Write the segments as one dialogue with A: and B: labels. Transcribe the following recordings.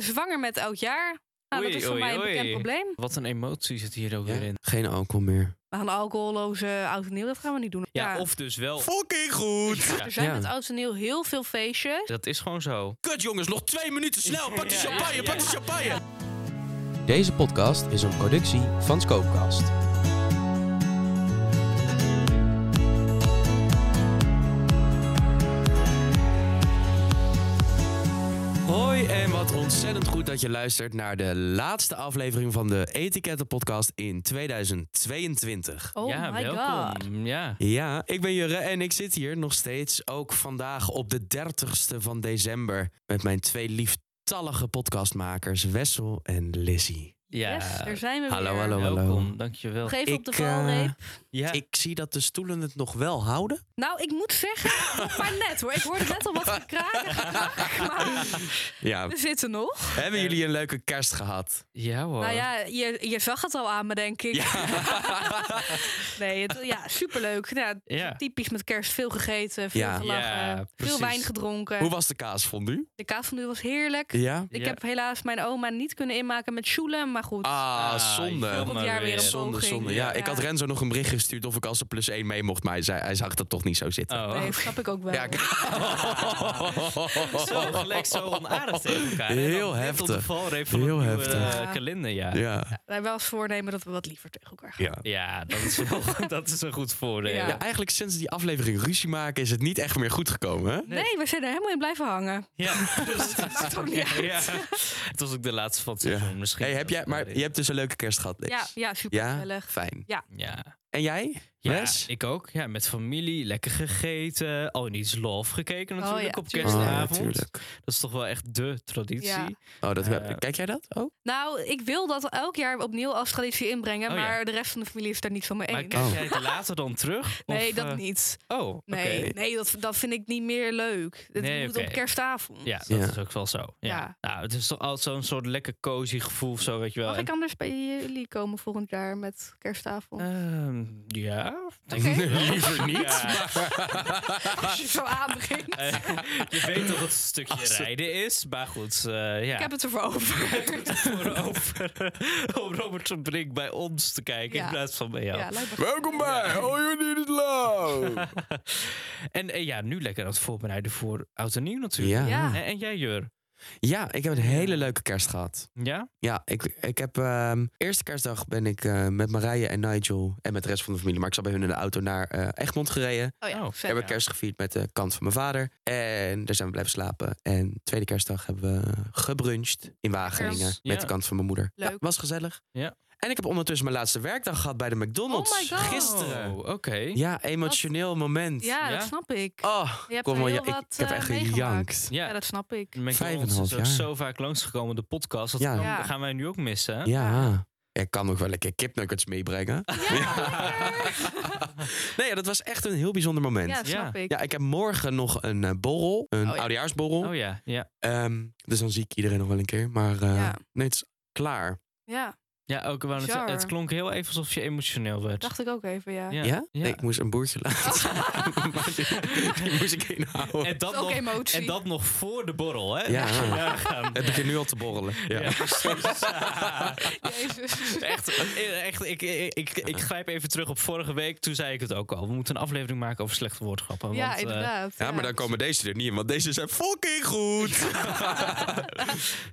A: zwanger met oud jaar. Nou,
B: Oei,
A: dat is voor
B: oei,
A: mij een
B: oei.
A: bekend probleem.
B: Wat een emotie zit hier ook
C: Ja.
B: weer in.
C: Geen alcohol meer.
A: We gaan alcoholloze oud en nieuw, dat gaan we niet doen.
B: Ja, of dus wel.
C: Fucking goed!
B: Ja,
A: Er zijn
C: Ja.
A: met oud en nieuw heel veel feestjes.
B: dat is gewoon zo.
C: Kut jongens, nog twee minuten snel. Pak
B: die champagne, Ja, ja, pak die ja.
C: champagne. Deze podcast is een productie van Scopecast. Hoi en wat ontzettend goed dat je luistert naar de laatste aflevering van de Etiketten Podcast in 2022.
A: Oh
B: ja,
A: my god.
B: welkom. Ja.
C: Ja, ik ben Jurre en ik zit hier nog steeds, ook vandaag op de 30ste van december, met mijn twee lieftallige podcastmakers Wessel en Lizzie.
B: ja.
A: Yes, daar zijn we
C: Hallo,
A: weer.
C: hallo.
B: Welkom, dankjewel.
A: Nog even op de
C: Ik, eh,
A: valreep.
B: Ja.
C: Ik zie dat de stoelen het nog wel houden.
A: Nou, ik moet zeggen, nog maar net hoor. Ik hoorde net al wat gekraken. Maar
C: Ja,
A: we zitten nog.
C: hebben jullie een leuke kerst gehad?
B: ja hoor.
A: Nou ja, je, je zag het al aan me, denk ik. Nee, het, ja, superleuk. Ja,
B: Ja.
A: Typisch met kerst veel gegeten, veel
C: Ja.
A: gelachen,
B: Ja,
A: veel
B: precies.
A: wijn gedronken.
C: Hoe was de kaas, vond u?
A: De kaasfondue was heerlijk.
C: Ja.
A: Ik
B: Ja.
A: heb helaas mijn oma niet kunnen inmaken met schoelen, maar goed.
C: Ah,
B: Ah,
C: zonde.
B: jammer.
A: volgend jaar
B: maar
A: weer
B: weer.
A: een
C: Zonde,
A: poging.
C: zonde. Ja, ik had Renzo nog een bericht gestuurd of ik als de plus 1 mee mocht, maar hij, zei, hij zag dat toch niet zo zitten.
B: Oh.
A: Nee, dat snap ik ook wel.
C: Ja,
A: Ja,
C: ik-
B: Zo gelijk zo onaardig tegen elkaar. En
C: Heel
B: dan net Op de
C: heftig.
B: valreep van
C: Heel
B: het nieuwe,
C: heftig.
B: eh, kalenderjaar.
C: Ja.
A: Wij wel eens voornemen dat we wat liever tegen elkaar gaan.
C: Ja.
B: Ja, dat is, wel, dat is een goed voordeel.
A: Ja.
C: ja, eigenlijk sinds die aflevering ruzie maken is het niet echt meer goed gekomen, hè?
A: Nee, we zijn er helemaal in blijven hangen.
B: Ja, dus het is
A: ook niet uit.
B: Het was ook de laatste van het seizoen
C: Ja.
B: misschien.
C: Hey, heb jij, maar je hebt dus een leuke kerst gehad, Lex.
A: Ja, ja super
C: Ja?
A: gezellig.
C: Fijn.
B: Ja,
C: En jij?
B: ja
C: Wes?
B: ik ook. Ja, met familie, lekker gegeten. Oh, en iets love gekeken
A: Oh,
B: natuurlijk
A: ja,
B: op
A: tuurlijk.
B: kerstavond.
C: Ah, Oh, tuurlijk.
B: dat is toch wel echt de traditie.
A: Ja.
C: Oh, dat,
B: Eh,
C: kijk jij dat ook?
A: Nou, ik wil dat elk jaar opnieuw als traditie inbrengen,
B: Oh, ja.
A: maar de rest van de familie is daar niet van mee
B: Maar
A: eens.
B: kijk
C: Oh.
B: jij het later dan terug? Of,
A: Nee,
B: eh,
A: dat niet.
B: Oh, oké.
A: Nee, nee dat, dat vind ik niet meer leuk. Dat
B: Nee,
A: moet op
B: oké.
A: kerstavond.
B: Ja, dat
C: Ja.
B: is ook wel zo. Ja.
A: Ja.
B: Nou, het is toch altijd zo'n soort lekker cozy gevoel of zo, weet je wel.
A: Mag
B: En-
A: ik anders bij jullie komen volgend jaar met kerstavond?
B: Ehm, ja.
A: Oké.
B: Liever niet.
A: Als je zo aanbegint.
B: Eh, je weet dat het een stukje
C: Als het-
B: rijden is, maar goed, eh, ja.
A: Ik heb het ervoor over.
B: voor over om Robert van Brink bij ons te kijken
A: Ja.
B: in plaats van bij jou.
A: ja, lijkt me-
C: Welkom bij All You Need Is Love.
B: En eh, ja, nu lekker aan het voorbereiden voor oud en nieuw natuurlijk.
C: Ja.
A: Ja.
B: En, en jij, Jur?
C: Ja, ik heb een hele leuke kerst gehad.
B: Ja?
C: Ja, ik, ik heb... ehm, eerste kerstdag ben ik eh, met Marije en Nigel en met de rest van de familie... maar ik zat bij hun in de auto naar eh, Egmond gereden.
A: Oh ja,
B: Oh,
A: vet.
C: Hebben
B: ja.
C: kerst gevierd met de kant van mijn vader. En daar zijn we blijven slapen. En tweede kerstdag hebben we gebruncht in Wageningen...
B: Kerst,
C: met
B: ja.
C: de kant van mijn moeder.
A: Leuk.
C: Ja, was gezellig.
B: Ja.
C: En ik heb ondertussen mijn laatste werkdag gehad bij de McDonald's.
A: Oh my god.
C: Gisteren.
B: Oh, oké.
C: Ja, emotioneel moment.
A: Ja, dat
B: Ja?
A: snap ik.
C: Oh,
A: Je hebt
C: kom
A: er
C: maar.
A: heel
C: ja, ik,
A: wat,
C: ik heb
A: eh,
C: echt
A: meegemaakt.
C: gejankt.
A: Ja,
B: Ja, Mm.
A: dat snap ik.
C: Vijf en een
B: McDonald's
C: half
B: is dus ook
C: jaar.
B: zo vaak langsgekomen, de podcast. Dat
C: Ja.
B: kan-
A: Ja.
B: gaan wij nu ook missen.
C: Ja. Ik kan nog wel een keer kipnuggets meebrengen. nee, ja, dat was echt een heel bijzonder moment.
A: Ja,
C: Ja,
A: dat snap ik.
C: ik heb morgen nog een eh, borrel. Een
A: Oh ja.
C: oudejaarsborrel.
B: Oh ja, ja.
C: Ehm, dus dan zie ik iedereen nog wel een keer. Maar eh,
A: Ja.
C: nee, het is klaar.
A: Ja,
B: Ja, ook, wou net zeggen, het,
A: Bizar.
B: klonk heel even alsof je emotioneel werd.
A: dacht ik ook even, ja.
B: Ja.
C: Ja? Nee, ik moest een boertje laten. Maar die, die moest ik inhouden.
B: En dat,
A: Ook
B: nog,
A: emotie.
B: en dat nog voor de borrel, hè?
C: Ja.
B: Dat je daar gaan-
C: Het begint nu al te borrelen. Ja.
B: Ja, precies.
A: Jezus.
B: Echt, echt ik, ik, ik, ik grijp even terug op vorige week. Toen zei ik het ook al. We moeten een aflevering maken over slechte woordgrappen.
A: ja,
B: want, eh,
A: inderdaad.
C: Ja, maar dan komen deze er niet in, want deze zijn fucking goed.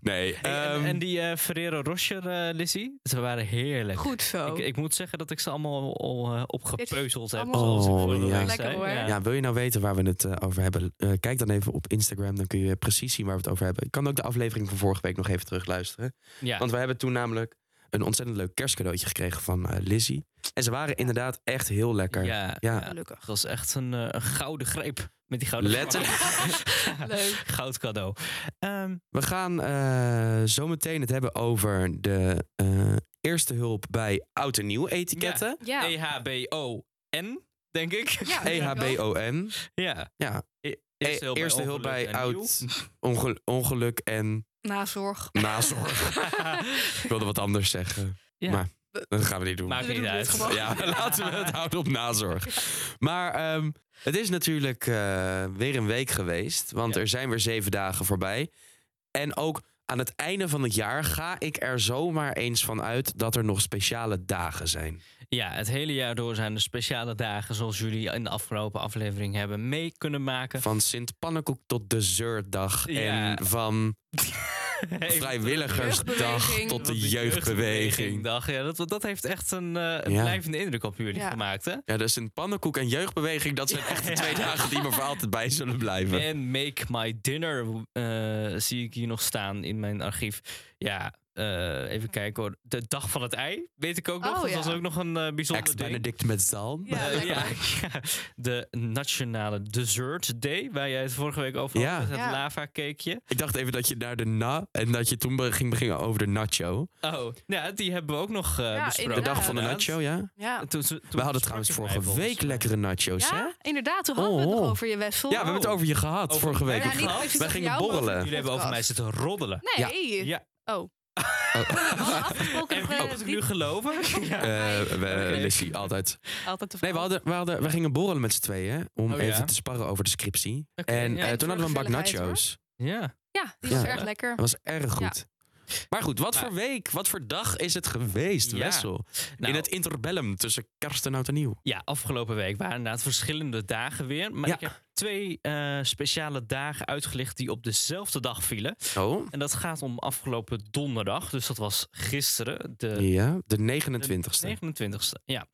C: nee.
B: hey, en,
C: ehm,
B: en die eh Ferrero Rocher, eh, Lizzie, Oh. ze waren heerlijk.
A: Goed zo.
B: Ik, ik moet zeggen dat ik ze allemaal al eh, opgepeuzeld heb.
A: allemaal
B: zoals ik
C: Oh,
B: vorige
C: ja.
B: week
A: Lekker
B: zei.
A: hoor.
B: Ja.
C: Ja, wil je nou weten waar we het eh, over hebben? Eh, kijk dan even op Instagram, dan kun je precies zien waar we het over hebben. Ik kan ook de aflevering van vorige week nog even terugluisteren.
B: Ja.
C: Want we hebben toen namelijk een ontzettend leuk kerstcadeautje gekregen van eh, Lizzie. En ze waren inderdaad echt heel lekker.
B: Ja,
C: Ja.
B: ja.
A: Gelukkig.
B: Dat was echt een, eh, een gouden greep. Met die gouden
C: Letterlijk.
B: smaak.
A: Leuk.
B: Goud cadeau. Ehm,
C: We gaan eh, zo meteen het hebben over de eh, eerste hulp bij oud en nieuw etiketten.
A: Ja.
B: E EHBO-N, denk ik.
A: Ja.
C: E EHBON.
B: Ja.
C: Ja.
B: E- Eerste hulp bij,
C: Eerste hulp bij
B: ongeluk en
C: oud onge- ongeluk en
A: Nazorg.
C: nazorg.
B: nieuw.
C: Ik wilde wat anders zeggen.
B: Ja.
C: Maar dat gaan we niet doen.
B: Maakt
A: We
B: niet
A: doen dit
B: uit.
A: gewoon.
C: Ja, laten we het houden op nazorg. Maar ehm, het is natuurlijk eh, weer een week geweest. Want
B: Ja.
C: er zijn weer zeven dagen voorbij. En ook aan het einde van het jaar ga ik er zomaar eens van uit dat er nog speciale dagen zijn.
B: Ja, het hele jaar door zijn er speciale dagen zoals jullie in de afgelopen aflevering hebben mee kunnen maken.
C: Van Sint Pannenkoek tot Deurdag
B: Ja.
C: En van
B: Even
C: Vrijwilligersdag
A: jeugdbeweging.
C: tot
B: tot
C: de Jeugdbeweging.
B: Dag. Ja, dat, dat heeft echt een, eh, een
C: Ja.
B: blijvende indruk op jullie
A: Ja.
B: gemaakt, hè?
C: Ja, de Sint Pannenkoek en Jeugdbeweging, dat zijn echt de twee dagen die me voor altijd bij zullen blijven.
B: En Make My Dinner eh, zie ik hier nog staan in mijn archief. Ja, eh, even kijken hoor. De Dag van het Ei, weet ik ook nog.
A: Oh,
B: dat
A: ja.
B: was ook nog een eh, bijzonder
C: Ex
B: ding.
C: Benedict met zalm.
A: Ja.
B: Eh, ja, ja. de Nationale Dessert Day, waar jij het vorige week over had,
C: Ja.
B: met het
A: Ja.
B: lava cakeje.
C: Ik dacht even dat je naar de na en dat je toen be- ging beginnen over de nacho.
B: Oh, ja, die hebben we ook nog eh,
A: Ja,
B: besproken.
C: De
A: inderdaad.
C: dag van de nacho, ja.
A: Ja.
B: Toen- toen- toen dus-
C: We
B: sprak
C: hadden trouwens
B: ik mij
C: vorige
B: volgens
C: week
B: mij.
C: lekkere nacho's, hè?
A: ja, inderdaad. Toen hadden we het
C: Oh.
A: nog over je Wessel.
C: Ja, we hebben het over je gehad
B: Oh. Over-
C: vorige week.
B: Ja,
C: Of-
B: niet
A: over
C: we gingen
A: jou, maar over
C: borrelen.
B: Jullie hebben over mij zitten roddelen.
A: Nee.
B: Ja.
A: Oh. afgesproken
B: En
A: dat we
B: wie moet ik nu
A: drie-
B: geloven? Ja.
C: Eh, we-
B: Oké.
C: Lissy, altijd.
A: Altijd te
C: Nee, we,
A: veel.
C: hadden, we, hadden, we gingen borrelen met z'n tweeën om
B: Oh, ja.
C: even te sparren over de scriptie.
B: Oké,
C: en
B: ja.
C: eh, toen hadden we een bak
A: Gezelligheid, hoor.
C: nacho's.
B: Ja.
A: Ja, die was
C: Ja.
A: erg lekker.
C: Dat was erg goed. Maar goed, wat
B: Maar-
C: voor week, wat voor dag is het geweest,
B: Ja.
C: Wessel?
B: Nou,
C: In het interbellum tussen kerst en oud en nieuw.
B: ja, afgelopen week waren inderdaad verschillende dagen weer. Maar
C: Ja.
B: ik heb twee eh, speciale dagen uitgelicht die op dezelfde dag vielen.
C: Oh,
B: En dat gaat om afgelopen donderdag. Dus dat was gisteren, de
C: ja, de 29ste.
B: 29ste, ja.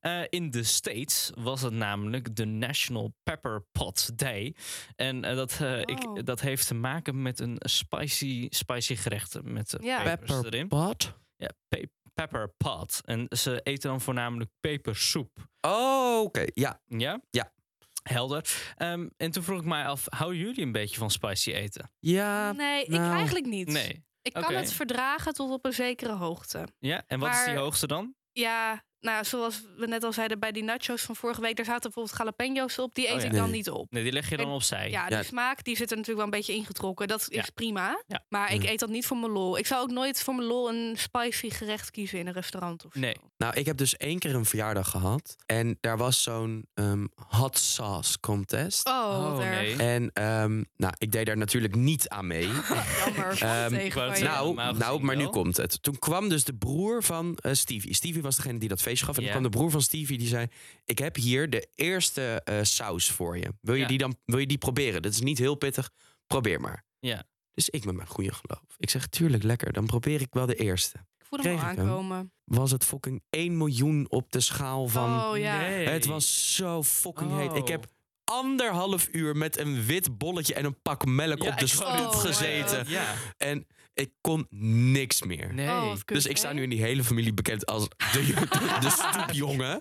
B: Eh, in de States was het namelijk de National Pepper Pot Day. En eh, dat, eh,
A: Oh.
B: ik, dat heeft te maken met een spicy, spicy gerecht met eh,
A: Ja.
B: pepers erin.
C: Pepperpot?
B: Ja, pe- pepper pot. En ze eten dan voornamelijk pepersoep.
C: Oh, oké. Ja,
B: Ja?
C: Ja.
B: Helder. Ehm, en toen vroeg ik mij af, houden jullie een beetje van spicy eten?
C: ja.
A: Nee, ik
C: nou,
A: eigenlijk niet.
B: Nee.
A: Ik kan
B: oké.
A: het verdragen tot op een zekere hoogte.
B: Ja? En wat is die
A: Maar-
B: hoogste dan?
A: Ja, nou, zoals we net al zeiden bij die nachos van vorige week, daar zaten bijvoorbeeld jalapeno's op. Die eet
B: Oh ja.
A: ik dan
C: Nee.
A: niet op.
B: Nee, die leg je dan
A: En-
B: opzij.
A: Ja, die
C: Ja.
A: smaak die zit er natuurlijk wel een beetje ingetrokken. Dat is
B: Ja.
A: prima.
B: Ja.
A: Maar ik
C: Mm.
A: eet dat niet voor mijn lol. Ik zou ook nooit voor mijn lol een spicy gerecht kiezen in een restaurant of zo.
B: Nee.
C: Nou, ik heb dus één keer een verjaardag gehad. En daar was zo'n ehm, hot sauce contest.
A: Oh, wat
B: Oh,
A: erg.
B: nee.
C: En ehm, nou, ik deed daar natuurlijk niet aan mee.
A: Jammer. tegen
B: wou
C: Ehm,
A: van je.
B: het zeggen.
C: nou,
B: normaal
C: nou,
B: gezien
C: maar nu
B: wel.
C: komt het. Toen kwam dus de broer van eh, Stevie. Stevie was degene die dat feestje gaf. En
B: Ja.
C: toen kwam de broer van Stevie die zei... Ik heb hier de eerste eh, saus voor je. Wil je,
B: Ja.
C: die dan, wil je die proberen? Dat is niet heel pittig. Probeer maar.
B: Ja.
C: Dus ik met mijn goede geloof. Ik zeg, tuurlijk, lekker. Dan probeer ik wel de eerste.
A: ik voel hem al
C: kreeg ik hem.
A: aankomen.
C: Was het fucking 1 miljoen op de schaal van...
A: oh ja.
B: Nee.
C: Het was zo fucking heet. Ik
B: Oh.
C: heb anderhalf uur met een wit bolletje en een pak melk
B: Ja,
C: op de
B: ik
C: stoep
A: wou net
C: gezeten.
A: zeggen.
B: Ja.
C: En ik kon niks meer.
B: Nee.
A: Oh, wat kut,
C: Dus ik sta
A: hè?
C: nu in die hele familie bekend als de, de stoepjongen.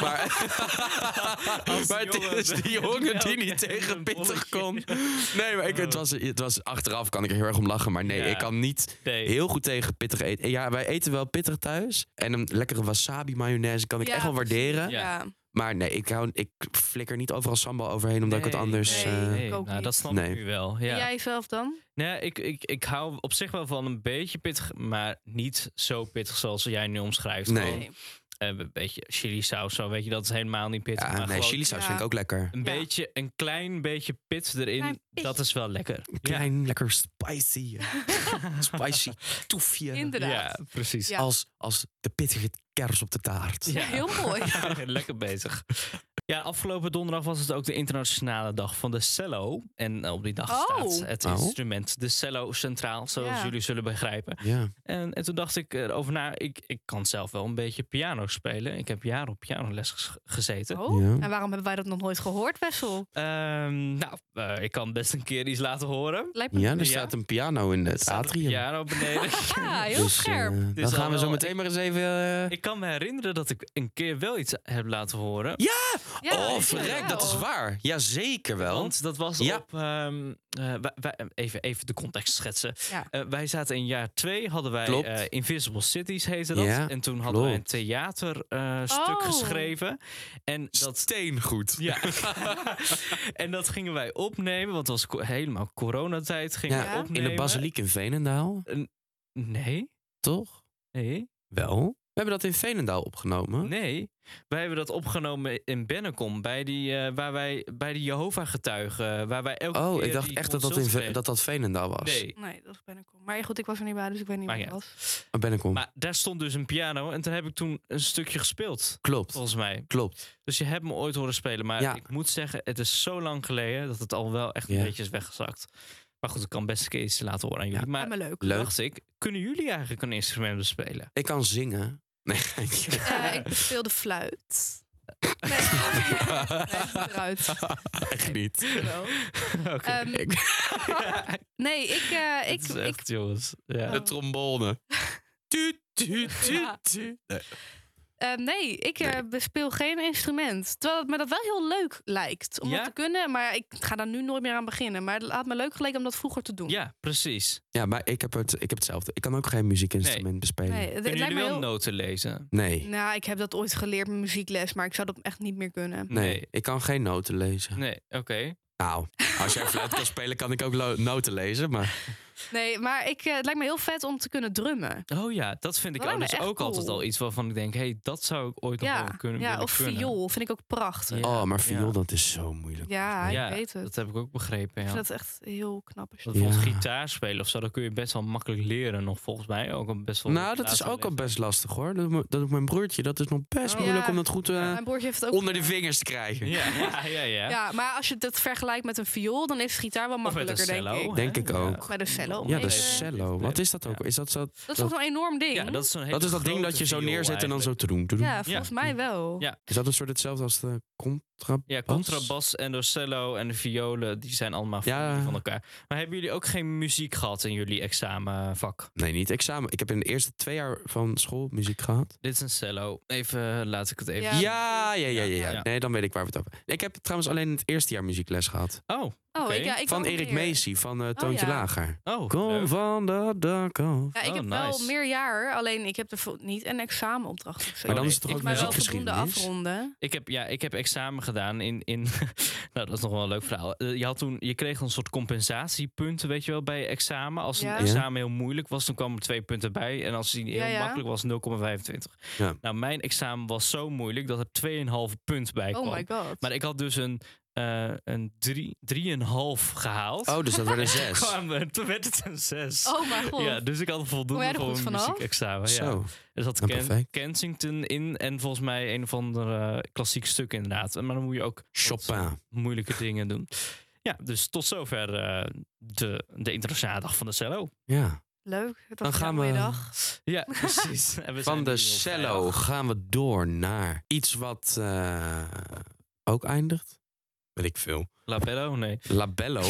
C: Maar,
B: Als
C: maar het
B: jongen
C: is
B: met
C: die jongen die
B: melk
C: niet
B: en
C: tegen
B: een
C: pittig kon.
B: bolletje.
C: Nee, maar ik, het,
B: Oh.
C: was, het was achteraf kan ik er heel erg om lachen. Maar nee,
B: Ja.
C: ik kan niet
B: Nee.
C: heel goed tegen pittig eten. Ja, wij eten wel pittig thuis. En een lekkere wasabi mayonaise kan ik
A: Ja,
C: echt wel
A: precies.
C: waarderen.
B: Ja.
A: Ja.
C: Maar nee, ik, hou, ik flikker niet overal sambal overheen, omdat ik het anders...
A: nee,
C: eh,
A: nee.
B: nou,
A: ook niet.
B: dat snap
C: Nee.
B: ik nu wel.
A: En
B: Ja.
A: Jij zelf dan?
B: Nee, ik, ik, ik hou op zich wel van een beetje pittig, maar niet zo pittig zoals jij nu omschrijft.
C: Nee.
B: Gewoon, eh, een beetje chili saus, zo weet je, dat is helemaal niet pittig.
C: Ja,
B: maar
C: nee,
B: gewoon
C: chili saus
A: Ja.
C: vind ik ook lekker.
B: een,
A: Ja.
B: beetje, een klein beetje pit erin,
A: Klein pitje.
B: dat is wel lekker. Ja,
C: Klein, lekker spicy. eh, spicy toefje.
A: Inderdaad.
B: ja, precies.
A: Ja.
C: Als, als de pittige kers op de taart.
B: Ja.
A: Heel mooi.
B: Lekker bezig. Ja, afgelopen donderdag was het ook de internationale dag van de cello. En eh, op die dag
A: Oh.
B: staat het
C: Oh.
B: instrument, de cello, centraal, zoals
A: Ja.
B: jullie zullen begrijpen.
C: Ja.
B: En, en toen dacht ik erover na, ik, ik kan zelf wel een beetje piano spelen. Ik heb jaren op pianoles ges- gezeten.
A: Oh.
C: Ja.
A: En waarom hebben wij dat nog nooit gehoord, Wessel?
B: Ehm, nou, eh, ik kan best een keer iets laten horen.
A: Lijkt me dus
C: ja, er
B: Ja.
C: staat een piano in het
B: Staat
C: atrium.
B: Piano beneden.
A: Ja, Ah, heel
C: Dus, eh,
A: scherp.
C: dan
B: is al
C: gaan we zo
B: wel-
C: meteen maar eens even... eh,
B: ik kan me herinneren dat ik een keer wel iets heb laten horen.
A: Ja,
C: oh,
A: zeker
C: verrek, dat
A: wel.
C: is waar. Ja, zeker wel.
B: Want dat was
C: Oh. Ja.
B: op... ehm, eh, wij- wij- even, even de context schetsen.
A: Ja.
B: Eh, wij zaten in jaar twee, hadden wij
C: Klopt.
B: eh, Invisible Cities heette dat.
C: Ja,
B: en toen hadden wij een
C: klopt.
B: theaterstuk stuk
A: Oh.
B: geschreven. En dat
C: Steengoed.
B: Ja. en dat gingen wij opnemen, want het was co- helemaal coronatijd. Gingen
C: Ja,
B: wij
A: in
B: opnemen.
C: In de basiliek in Veenendaal,
B: Nee,
C: toch?
B: nee.
C: Wel? We hebben dat in Veenendaal opgenomen.
B: Nee, wij hebben dat opgenomen in Bennekom, bij die, eh, waar wij, bij die Jehovah-getuigen, waar wij elke
C: Oh,
B: keer
C: ik dacht
B: die
C: echt dat dat, in, Ve-
B: consulten
C: dat dat Veenendaal was.
B: kregen. Nee,
A: Nee, dat ben ik om. Maar goed, ik was er niet bij, dus ik weet niet
B: Maar
A: wat het
B: ja.
A: was.
C: Maar ben ik om.
B: maar daar stond dus een piano en daar heb ik toen een stukje gespeeld,
C: Klopt,
B: volgens mij.
C: klopt.
B: Dus je hebt me ooit horen spelen, maar
C: Ja.
B: ik moet zeggen, het is zo lang geleden dat het al wel echt een
C: Ja.
B: beetje is weggezakt. Maar goed, ik kan best een keer iets laten horen aan jullie.
C: Ja.
A: Maar,
B: Maar
A: maar leuk.
C: Leuk.
B: dacht ik, kunnen jullie eigenlijk een instrument bespelen?
C: Ik kan zingen. Nee,
A: Eh, ik speelde fluit. Nee, nee, niet eruit.
C: echt niet.
A: Wel.
B: Oké.
A: Ehm, nee, ik, eh,
B: Het
A: ik,
B: is
A: ik,
B: echt, jongens. Ja.
A: Oh.
C: De trombone. Tu, tu, tu, tu. Nee.
A: eh, nee, ik eh, bespeel geen instrument. Terwijl het me dat wel heel leuk lijkt om
B: Ja?
A: dat te kunnen. Maar ik ga daar nu nooit meer aan beginnen. Maar het had me leuk geleken om dat vroeger te doen.
B: ja, precies.
C: Ja, maar ik heb, het, ik heb hetzelfde. Ik kan ook geen muziekinstrument bespelen.
A: Nee,
C: Nee.
A: het, het
B: Kunnen
A: lijkt
B: jullie
A: me
B: wel
A: heel...
B: noten lezen?
C: Nee.
A: Nou, ik heb dat ooit geleerd met muziekles, maar ik zou dat echt niet meer kunnen.
B: Nee.
C: ik kan geen noten lezen.
B: Nee, oké.
C: Nou, als jij fluit kan spelen, kan ik ook lo- noten lezen. Maar
A: Nee, maar ik, eh, het lijkt me heel vet om te kunnen drummen.
B: Oh ja, dat vind ik
A: Dat
B: al-
A: lijkt
B: dus
A: me
B: ook
A: echt
B: altijd
A: cool.
B: al iets waarvan ik denk... hé, hey, dat zou ik ooit nog wel
A: Ja,
B: kunnen
A: ja
B: willen
A: of
B: kunnen.
A: viool vind ik ook prachtig.
B: Ja.
C: oh, maar viool,
B: ja.
C: dat is zo moeilijk.
A: Ja,
B: Ja,
A: ik weet het.
B: Dat heb ik ook begrepen,
A: Ik
B: ja.
A: vind dat echt heel knap. als je-
B: Want Bijvoorbeeld
C: Ja.
B: gitaar spelen of zo, dat kun je best wel makkelijk leren. Nog volgens mij ook een best wel...
C: Nou, dat is
B: latere
C: ook al
B: leeftijd.
C: best lastig hoor. Dat doet, me- dat doet mijn broertje. Dat is nog best
B: Oh.
C: moeilijk
A: Ja.
C: om dat goed eh,
A: Mijn broertje heeft het ook.
C: onder de vingers te krijgen.
B: Ja, ja, ja. ja.
A: Ja, maar als je dat vergelijkt met een viool, dan is gitaar wel
B: Of met een
A: makkelijker, denk
B: cello,
A: ik.
B: hè?
C: Denk ik
B: Ja.
C: ook.
A: Maar de cello.
C: Ja,
A: even-
C: de cello. Wat is dat ook? Is dat, zo,
A: Dat is toch
C: dat-
A: zo'n enorm ding?
B: Ja, dat is zo'n hele
C: dat, is dat ding
B: grote
C: dat je zo
B: viool
C: neerzet en dan zo
B: eigenlijk.
C: te doen? te doen?
A: Ja, volgens mij wel.
B: Ja.
C: Is dat een soort hetzelfde als de contra?
B: Ja,
C: Bas?
B: contrabas en de cello en de violen, die zijn allemaal
C: Ja.
B: familie van elkaar. Maar hebben jullie ook geen muziek gehad in jullie examenvak?
C: Nee, niet examen. Ik heb in de eerste twee jaar van school muziek gehad.
B: Dit is een cello. Even, eh, laat ik het even...
A: Ja.
C: Ja, ja, ja, ja.
B: Ja,
C: ja,
B: ja.
C: Nee, dan weet ik waar we het over Ik heb trouwens alleen in het eerste jaar muziekles gehad.
B: Oh,
A: Oh,
B: Oké.
A: ik, ja, ik
C: van
A: wel
C: Erik
A: meer.
C: Macy van eh, Toontje
A: ja.
C: Lager.
B: oh.
C: Kom
B: leuk.
C: van dat dak af.
A: Ja, ik
B: Oh,
A: heb
B: nice.
A: wel meer jaar, alleen ik heb er vo- niet een examenopdracht. of zo.
C: Maar dan
B: nee,
C: is het toch
A: ik
C: ook
A: maar wel voldoende
C: muziekgeschiedenis?
A: afronden.
B: Ik heb, ja, ik heb examen gedaan in. in nou, dat is nog wel een leuk verhaal. Eh, Je, had toen, je kreeg een soort compensatiepunten, weet je wel, bij je examen. Als een
A: Ja. Ja.
B: examen heel moeilijk was, dan kwamen er twee punten bij. En als die heel
A: Ja, ja.
B: makkelijk was, 0,25.
C: Ja.
B: Nou, mijn examen was zo moeilijk dat er 2,5 punt bij kwam.
A: oh my god.
B: Maar ik had dus een, eh een drie- 3,5 gehaald.
C: Oh, dus dat werd een zes.
B: Kwam er- toen werd het een 6.
A: oh mijn god.
B: Ja, dus ik had
A: Kom jij
B: voldoende
A: er
B: voor
A: goed
B: mijn
A: vanaf?
B: muziekexamen. Ja.
C: Zo.
B: Er zat
C: Nou,
B: Ken-
C: perfect.
B: Kensington in en volgens mij een of ander eh, klassiek stuk inderdaad. Maar dan moet je ook wat
C: Chopin.
B: moeilijke dingen doen. Ja, dus tot zover eh, de, de internationale dag van de cello.
C: Ja.
A: Leuk. Dat
C: Dan
A: was
C: gaan
A: een mooie
C: we-
A: dag.
B: Ja, precies. En we zijn
C: Van
B: nu
C: de
B: op
C: cello
B: vrijdag.
C: gaan we door naar iets wat eh, ook eindigt. Weet ik veel.
B: Labello? Nee.
C: Labello.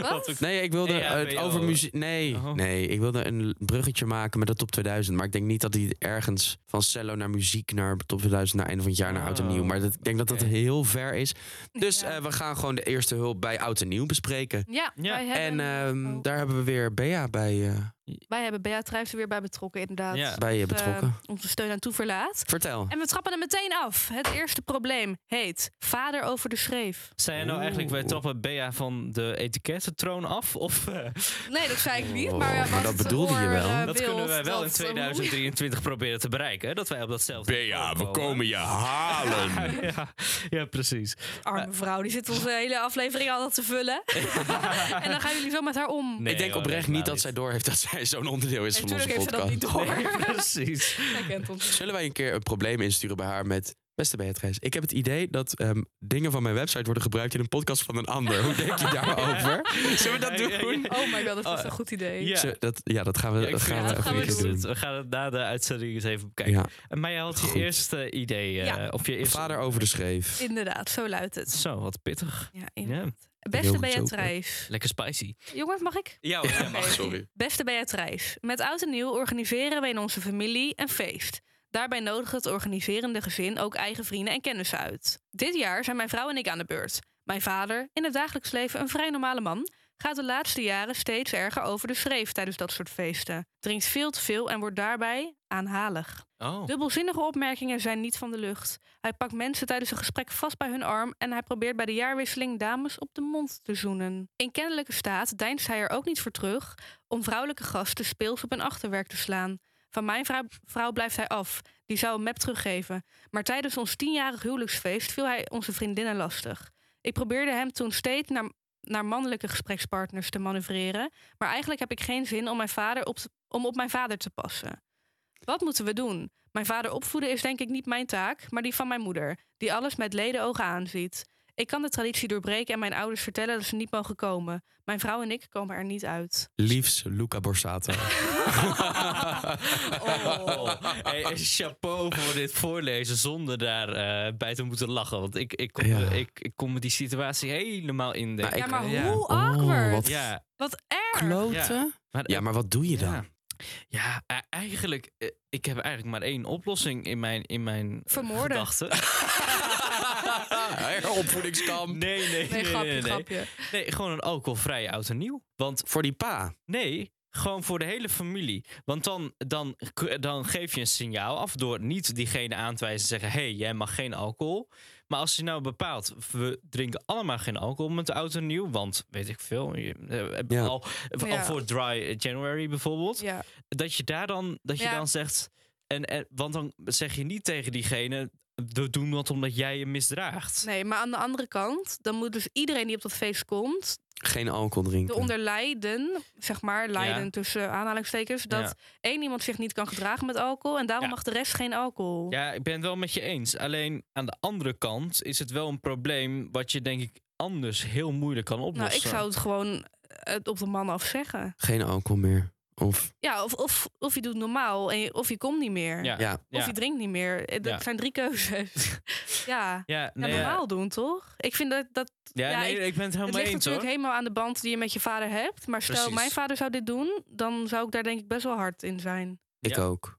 B: Wat? ook-
C: Nee, ik wilde
B: Nee, ja,
C: het
B: BO.
C: over muziek. Nee,
B: Oh.
C: nee, ik wilde een bruggetje maken met de top 2000. Maar ik denk niet dat die ergens van cello naar muziek naar top 2000 naar einde van het jaar naar oud en nieuw. Maar dat, ik denk dat dat
B: Oh, Oké.
C: heel ver is. Dus
A: ja.
C: eh, we gaan gewoon de eerste hulp bij oud en nieuw bespreken.
A: ja,
B: Ja.
A: Wij
C: En
A: hebben,
C: ehm,
A: oh.
C: daar hebben we weer Bea bij, eh,
A: wij hebben Beatrice er weer bij betrokken, inderdaad.
B: Ja.
C: bij je
A: Dus, eh,
C: betrokken.
A: onze steun aan toeverlaat.
C: Vertel.
A: En we trappen er meteen af. Het eerste probleem heet Vader over de schreef.
B: Zijn er nou eigenlijk, wij
C: Oeh.
B: trappen Bea van de etikettentroon af? Of eh,
A: Nee, dat zei ik niet.
C: Oh,
A: Maar, ja,
C: maar
A: wat
C: dat
A: het
C: bedoelde je
A: oor,
C: wel.
A: eh,
C: Dat
B: dat
A: beeld,
B: kunnen wij wel in
A: dat-
B: 2023 proberen te bereiken? hè? Dat wij op datzelfde niveau
C: je halen.
B: ja, ja, precies.
A: Arme vrouw, die zit onze hele aflevering al te vullen. en dan gaan jullie zo met haar om.
B: Nee,
C: ik denk
B: hoor,
C: oprecht
B: helemaal
C: niet dat zij door heeft dat zij zo'n onderdeel is van onze
A: Natuurlijk heeft ze dat
C: podcast.
A: niet door.
B: Nee, precies.
A: Zij kent ons.
C: Zullen wij een keer een probleem insturen bij haar met... Beste Beatrice, ik heb het idee dat ehm, dingen van mijn website worden gebruikt in een podcast van een ander. Hoe denk je daarover? Zullen we dat
B: Ja, ja,
C: doen?
B: ja.
A: Oh my god, dat was
B: Oh,
A: een goed idee.
B: Ja.
C: Zullen- dat, ja, dat gaan we,
B: Ja, ik
C: dat
B: vind
C: gaan
A: het
C: we
A: wel
C: even
A: goed.
C: een keer
A: Gaan
C: doen.
B: We gaan het na de uitzending eens even bekijken.
C: Ja,
B: En Maar jij had je
C: Goed.
B: eerste idee. eh,
A: Ja.
B: Of je eerste...
C: vader over de schreef.
A: Inderdaad, zo luidt het.
B: Zo, wat pittig.
A: Ja, inderdaad.
B: Ja.
A: Beste
C: goed
A: Beatrice.
B: Lekker spicy.
A: Jongens, mag ik?
B: Ja,
A: mag.
C: Sorry.
A: Beste Beatrice, met oud en nieuw organiseren wij in onze familie een feest. Daarbij nodigt het organiserende gezin ook eigen vrienden en kennissen uit. Dit jaar zijn mijn vrouw en ik aan de beurt. Mijn vader, in het dagelijks leven een vrij normale man, gaat de laatste jaren steeds erger over de schreef tijdens dat soort feesten. Drinkt veel te veel en wordt daarbij aanhalig.
B: Oh.
A: Dubbelzinnige opmerkingen zijn niet van de lucht. Hij pakt mensen tijdens een gesprek vast bij hun arm en hij probeert bij de jaarwisseling dames op de mond te zoenen. In kennelijke staat deinst hij er ook niet voor terug om vrouwelijke gasten speels op hun achterwerk te slaan. Van mijn vrou- vrouw blijft hij af. Die zou een map teruggeven. Maar tijdens ons tienjarig huwelijksfeest viel hij onze vriendinnen lastig. Ik probeerde hem toen steeds naar, naar mannelijke gesprekspartners te manoeuvreren. Maar eigenlijk heb ik geen zin om, mijn vader op, te- om op mijn vader te passen. Wat moeten we doen? Mijn vader opvoeden is denk ik niet mijn taak, maar die van mijn moeder, die alles met leden ogen aanziet. Ik kan de traditie doorbreken en mijn ouders vertellen dat ze niet mogen komen. Mijn vrouw en ik komen er niet uit.
C: Liefs Luca Borsato.
A: Oh.
B: Oh. Hey, hey, chapeau voor dit voorlezen zonder daar eh, bij te moeten lachen. Want ik, ik, kon,
C: Ja.
B: ik, ik kon me die situatie helemaal indenken.
C: Maar
A: ja,
C: Ik-
A: maar
B: ja.
A: hoe awkward.
C: Oh,
A: wat...
C: wat-
B: Ja,
A: erg.
B: Kloten?
C: Ja, maar wat doe je dan?
B: Ja, ja e- eigenlijk, eh, ik heb eigenlijk maar één oplossing in mijn, in mijn eh,
A: Vermoorden.
B: gedachten.
C: Eh, Heropvoedingskamp.
B: Nee, nee, nee.
A: Nee, grapje,
B: nee, nee.
A: grapje.
B: Nee, gewoon een alcoholvrije oud en nieuw. Want
C: Voor die pa.
B: nee, gewoon voor de hele familie. Want dan, dan, dan geef je een signaal af door niet diegene aan te wijzen en zeggen: hé, hey, jij mag geen alcohol. Maar als je nou bepaalt, we drinken allemaal geen alcohol met de oud en nieuw. Want weet ik veel, je, eh,
C: Ja.
B: al, al
A: Ja.
B: voor Dry January bijvoorbeeld
A: Ja.
B: dat je daar dan, dat je
A: Ja.
B: dan zegt. En, en, want dan zeg je niet tegen diegene. We doen dat omdat jij je misdraagt.
A: Nee, maar aan de andere kant, dan moet dus iedereen die op dat feest komt,
C: Geen alcohol drinken.
A: eronder lijden, zeg maar, lijden
B: Ja.
A: tussen aanhalingstekens, dat
B: Ja.
A: één iemand zich niet kan gedragen met alcohol en daarom
B: Ja.
A: mag de rest geen alcohol.
B: Ja, ik ben het wel met je eens. Alleen aan de andere kant is het wel een probleem. wat je denk ik anders heel moeilijk kan oplossen.
A: nou, ik zou het gewoon eh, op de man af zeggen.
C: Geen alcohol meer. Of
A: Ja, of, of, of je doet normaal en je- of je komt niet meer.
B: Ja, ja.
C: ja.
A: Of je
B: ja.
A: drinkt niet meer. Eh, Dat
B: Ja.
A: zijn drie keuzes. ja.
B: Ja,
A: Ja,
B: nee, ja.
A: normaal doen, toch? Ik vind dat, dat
B: Ja,
A: Ja,
B: nee,
A: ik-
B: ik, ben het
A: het
B: helemaal
A: ligt
B: eens
A: natuurlijk
B: hoor.
A: helemaal aan de band die je met je vader hebt. Maar stel,
B: Precies.
A: mijn vader zou dit doen, dan zou ik daar denk ik best wel hard in zijn.
C: ik
B: Ja.
C: ook.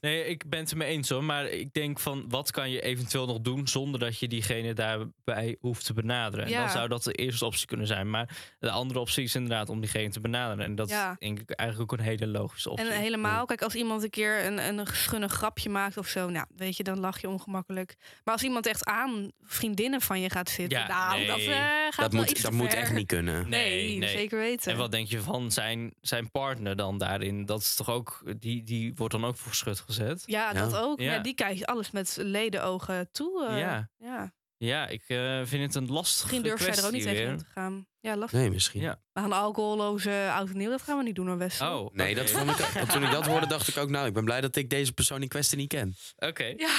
B: Nee, ik ben het ermee eens hoor. Maar ik denk van wat kan je eventueel nog doen zonder dat je diegene daarbij hoeft te benaderen. En
A: Ja.
B: dan zou dat de eerste optie kunnen zijn. Maar de andere optie is inderdaad om diegene te benaderen. En dat
A: Ja.
B: is denk ik eigenlijk ook een hele logische optie.
A: En helemaal, kijk, als iemand een keer een, een schunnig grapje maakt of zo, nou, weet je, dan lach je ongemakkelijk. Maar als iemand echt aan vriendinnen van je gaat zitten,
B: Ja,
A: nou, dat
B: nee.
A: eh, gaat
C: Dat
A: wel
C: moet,
A: iets
C: dat
A: te
C: moet
A: ver.
C: echt niet kunnen.
A: Nee,
B: Nee, nee.
A: zeker weten.
B: En wat denk je van zijn, zijn partner dan daarin? Dat is toch ook, die, die wordt dan ook voor schut gezet.
A: Ja,
C: Ja.
A: dat ook. Ja.
B: Ja.
A: die kijkt alles met ledenogen toe. eh, ja.
B: Ja. Ja, ik eh, vind het een lastige
A: Misschien durft zij er ook niet
B: kwestie
A: tegen
B: weer.
A: in te gaan. Ja, lastig.
C: Nee, misschien.
B: Ja.
A: Maar een alcoholloze oud en nieuw, dat gaan we niet doen, hoor, Wessel.
B: Oh,
C: Nee, dat
B: oké.
C: vond ik, want toen ik dat hoorde, dacht ik ook, nou, ik ben blij dat ik deze persoon in kwestie niet ken.
B: Oké.
A: Ja.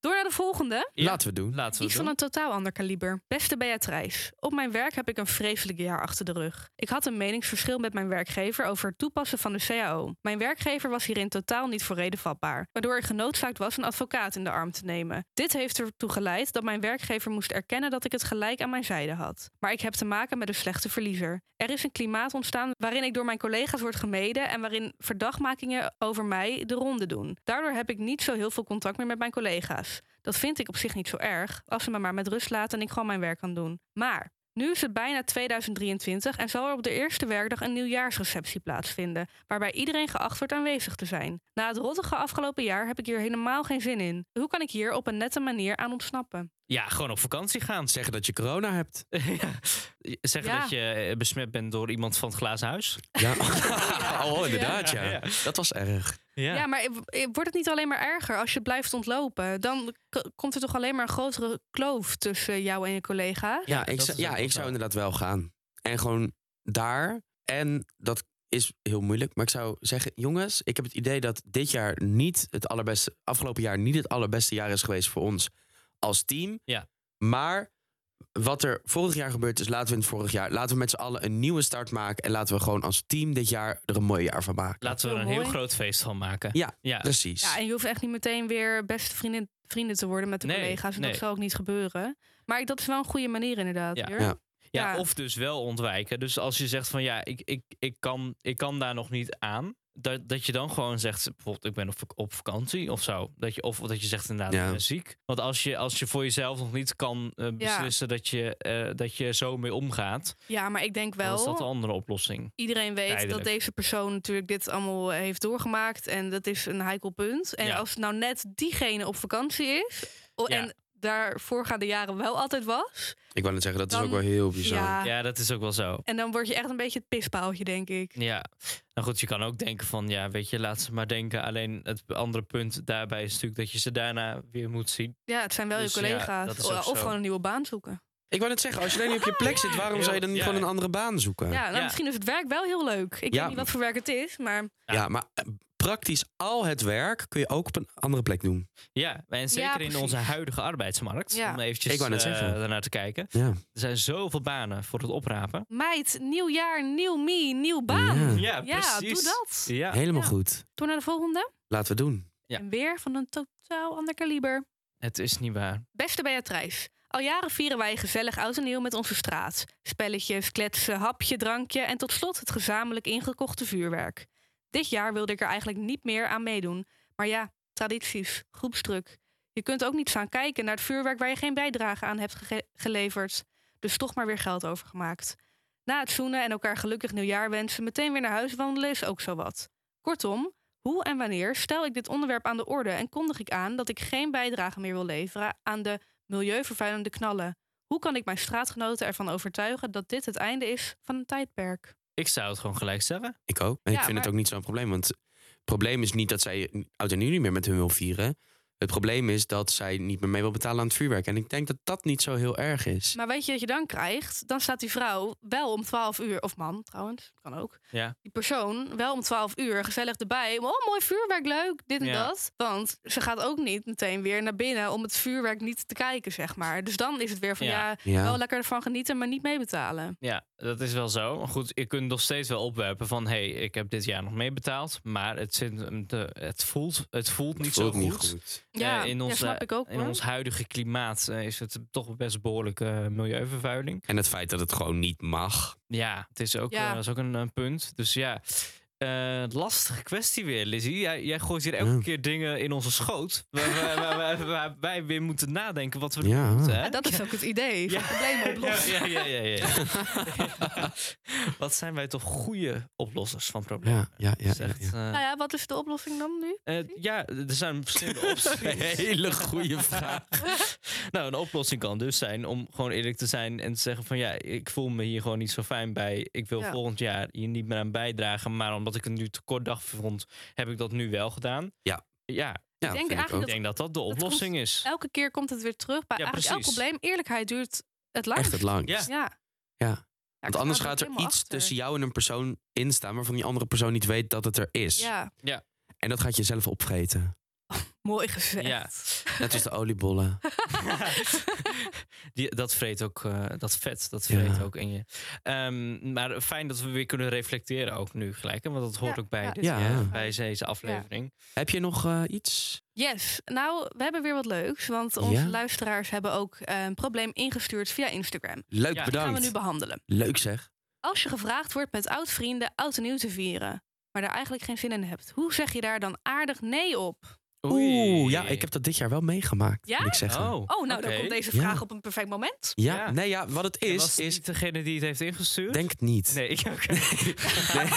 A: Door naar de volgende.
B: Ja.
C: Laten we het doen.
B: Laten we
A: Iets
B: het
A: van
B: doen.
A: een totaal ander kaliber. Beste Beatrice, op mijn werk heb ik een vreselijk jaar achter de rug. Ik had een meningsverschil met mijn werkgever over het toepassen van de CAO. Mijn werkgever was hierin totaal niet voor reden vatbaar, waardoor ik genoodzaakt was een advocaat in de arm te nemen. Dit heeft ertoe geleid dat mijn werkgever moest erkennen dat ik het gelijk aan mijn zijde had. Maar ik heb te maken met een slechte verliezer. Er is een klimaat ontstaan waarin ik door mijn collega's word gemeden en waarin verdachtmakingen over mij de ronde doen. Daardoor heb ik niet zo heel veel contact meer met mijn collega's. Dat vind ik op zich niet zo erg, als ze me maar met rust laten en ik gewoon mijn werk kan doen. Maar nu is het bijna 2023 en zal er op de eerste werkdag een nieuwjaarsreceptie plaatsvinden, waarbij iedereen geacht wordt aanwezig te zijn. Na het rottige afgelopen jaar heb ik hier helemaal geen zin in. Hoe kan ik hier op een nette manier aan ontsnappen?
B: Ja, gewoon op vakantie gaan.
C: Zeggen dat je corona hebt.
B: Ja. Zeggen
A: Ja.
B: dat je eh, besmet bent door iemand van het glazen huis.
C: Ja. Oh, inderdaad, ja.
B: Ja, ja.
C: Dat was erg.
A: Ja, maar eh, eh, wordt het niet alleen maar erger als je blijft ontlopen? Dan k- komt er toch alleen maar een grotere kloof tussen jou en je collega?
C: Ja, ik,
B: dat
C: zou-
B: is ook
C: ja,
B: wel
C: ik zou
B: zo.
C: inderdaad wel gaan. En gewoon daar. En dat is heel moeilijk. Maar ik zou zeggen, jongens, ik heb het idee dat dit jaar niet het allerbeste, afgelopen jaar niet het allerbeste jaar is geweest voor ons als team.
B: Ja.
C: Maar wat er vorig jaar gebeurd is, laten we in het vorig jaar, laten we met z'n allen een nieuwe start maken. En laten we gewoon als team dit jaar er een mooi jaar van maken.
B: Laten we
A: Heel
B: er een heel
A: mooi.
B: groot feest van maken.
C: Ja,
B: ja.
C: Precies.
A: Ja, en je hoeft echt niet meteen weer beste vrienden, vrienden te worden met de
B: Nee,
A: collega's. En
B: nee.
A: Dat zal ook niet gebeuren. Maar ik- dat is wel een goede manier inderdaad.
B: Ja.
A: Jur.
C: Ja.
B: Ja,
A: Ja.
B: of dus wel ontwijken. Dus als je zegt van ja, ik, ik, ik, kan, ik kan daar nog niet aan. Dat, dat je dan gewoon zegt, bijvoorbeeld ik ben op, vak- op vakantie of zo. Dat je, of dat je zegt inderdaad,
C: Ja.
B: ik ben ziek. Want als je, als je voor jezelf nog niet kan eh, beslissen dat, je, eh, dat je zo mee omgaat,
A: Ja, maar ik denk
B: dan Oh, is dat
A: wel,
B: de andere oplossing.
A: iedereen weet
B: Tijdelijk.
A: dat deze persoon natuurlijk dit allemaal eh, heeft doorgemaakt. En dat is een heikel punt. En
B: Ja.
A: als nou net diegene op vakantie is, o-
B: Ja.
A: en daar voorgaande jaren wel altijd was.
C: Ik wou net zeggen, dat
A: Dan-
C: is ook wel heel bizar.
A: Ja,
B: Ja, dat is ook wel zo.
A: en dan word je echt een beetje het pispaaltje, denk ik.
B: Ja, Nou goed, je kan ook denken van, ja, weet je, laat ze maar denken. Alleen het andere punt daarbij is natuurlijk dat je ze daarna weer moet zien.
A: Ja, het zijn wel
B: Dus
A: je
B: ja,
A: collega's.
B: dat is ook
A: of
B: zo.
A: gewoon een nieuwe baan zoeken.
C: Ik wou net zeggen, als je daar niet op je plek zit, waarom zou je dan niet
B: Ja.
C: gewoon een andere baan zoeken?
A: Ja,
C: Ja,
A: nou,
B: Ja.
A: misschien is het werk wel heel leuk. Ik
C: Ja.
A: weet niet wat voor werk het is, maar
C: maar eh, praktisch al het werk kun je ook op een andere plek doen.
B: Ja, en zeker in
A: precies.
B: onze huidige arbeidsmarkt.
A: Ja.
B: Om eventjes
C: Ik wou net
B: eh,
C: zeggen.
B: daarnaar te kijken.
C: Ja.
B: Er zijn zoveel banen voor het oprapen.
A: meid, nieuw jaar, nieuw me, nieuw baan.
C: Ja.
A: Ja,
B: Ja, precies.
A: doe dat.
B: Ja.
C: Helemaal
A: Ja.
C: goed.
A: Door naar de volgende.
C: Laten we doen.
B: Ja.
A: En weer van een totaal ander kaliber.
B: Het is niet waar.
A: Beste Beatrice, al jaren vieren wij gezellig oud en nieuw met onze straat. Spelletjes, kletsen, hapje, drankje en tot slot het gezamenlijk ingekochte vuurwerk. Dit jaar wilde ik er eigenlijk niet meer aan meedoen. Maar ja, tradities, groepsdruk. Je kunt ook niet gaan kijken naar het vuurwerk waar je geen bijdrage aan hebt gege- geleverd. Dus toch maar weer geld overgemaakt. Na het zoenen en elkaar gelukkig nieuwjaar wensen, meteen weer naar huis wandelen is ook zo wat. Kortom, hoe en wanneer stel ik dit onderwerp aan de orde en kondig ik aan dat ik geen bijdrage meer wil leveren aan de milieuvervuilende knallen? Hoe kan ik mijn straatgenoten ervan overtuigen dat dit het einde is van een tijdperk?
B: Ik zou het gewoon gelijk zeggen.
C: Ik ook. En
A: Ja,
C: ik vind
A: maar-
C: het ook niet zo'n probleem. Want het probleem is niet dat zij oud en nieuw niet meer met hun wil vieren. Het probleem is dat zij niet meer mee wil betalen aan het vuurwerk. En ik denk dat dat niet zo heel erg is.
A: Maar weet je wat je dan krijgt? Dan staat die vrouw wel om 12 uur, of man trouwens, kan ook.
B: Ja.
A: Die persoon wel om 12 uur gezellig erbij. Oh, mooi vuurwerk, leuk, dit en
B: Ja.
A: dat. Want ze gaat ook niet meteen weer naar binnen om het vuurwerk niet te kijken, zeg maar. Dus dan is het weer van
B: Ja.
A: ja, wel
C: Ja,
A: lekker ervan genieten, maar niet meebetalen.
B: Ja, dat is wel zo. Maar goed, je kunt nog steeds wel opwerpen van... hé, hey, ik heb dit jaar nog meebetaald, maar het, zit, hem te- het, voelt, het voelt niet
C: voelt
B: zo
C: niet
B: goed.
C: goed.
A: Ja,
B: Eh, in
A: ja,
B: onze-
A: snap ik ook.
B: In
A: hoor.
B: ons huidige klimaat eh, is het toch best behoorlijke eh, milieuvervuiling.
C: En het feit dat het gewoon niet mag.
B: Ja, het is ook,
A: Ja.
B: eh, is ook een, een punt. Dus ja, eh, lastige kwestie weer, Lizzie. Jij, jij gooit hier elke
C: Ja.
B: keer dingen in onze schoot... waar, waar- waar- waar- waar wij weer moeten nadenken wat we doen
C: Ja.
B: moeten. Hè?
A: Ja, dat is ook het idee. Van
B: Ja.
A: problemen oplossen.
B: Ja, ja, ja, ja, ja. Wat zijn wij toch goede oplossers van problemen?
C: Ja, ja, ja.
B: Dat is
C: ja,
B: echt,
C: ja.
B: eh,
A: Nou ja, wat is de oplossing dan nu?
B: eh, ja, er zijn verschillende opties.
C: Hele goede vraag.
B: Nou, een oplossing kan dus zijn om gewoon eerlijk te zijn en te zeggen van ja, ik voel me hier gewoon niet zo fijn bij. Ik wil
A: Ja.
B: volgend jaar hier niet meer aan bijdragen, maar omdat ik het nu te kort dag vond, heb ik dat nu wel gedaan.
C: Ja.
B: Ja,
C: Ja,
A: denk
C: vind
A: eigenlijk
B: ik
A: Dat-
B: denk dat dat de
A: komt-
B: oplossing is.
A: Elke keer komt het weer terug bij
B: Ja,
A: eigenlijk elk
B: precies.
A: probleem. Eerlijkheid duurt het lang.
C: echt het lang.
B: Ja.
A: Ja.
C: Ja.
A: ik
C: Want
A: sta
C: anders
A: er
C: gaat er iets
A: helemaal achter.
C: tussen jou en een persoon in staan waarvan die andere persoon niet weet dat het er is.
A: Ja,
C: En dat gaat je zelf opvreten.
A: mooi gezegd.
B: Ja.
C: Net als de oliebollen.
B: Die, dat vreet ook, eh, dat vet, dat
C: Ja.
B: vreet ook in je. Ehm, maar fijn dat we weer kunnen reflecteren ook nu gelijk, hè, want dat hoort
A: Ja,
B: ook bij,
A: ja.
B: dit,
C: Ja.
B: eh, bij deze aflevering.
C: Heb je nog eh, iets?
A: Yes, nou, we hebben weer wat leuks. Want onze
C: Ja.
A: luisteraars hebben ook eh, een probleem ingestuurd via Instagram.
B: Ja.
C: Leuk,
A: Dat gaan we
C: bedankt.
A: nu behandelen.
C: Leuk zeg.
A: Als je gevraagd wordt met oud-vrienden oud en nieuw te vieren... maar daar eigenlijk geen zin in hebt... hoe zeg je daar dan aardig nee op?
C: Oeh, ja, ik heb dat dit jaar wel meegemaakt.
A: Ja?
C: Moet ik zeggen.
B: Oh,
A: Oh, nou, dan
B: oké.
A: komt deze
C: Ja.
A: vraag op een perfect moment.
C: Ja,
B: Ja.
C: nee, ja, wat het
B: En
C: is,
B: was het
C: is.
B: niet degene die het heeft ingestuurd?
C: Denk het niet.
B: Nee, ik ook.
C: Nee.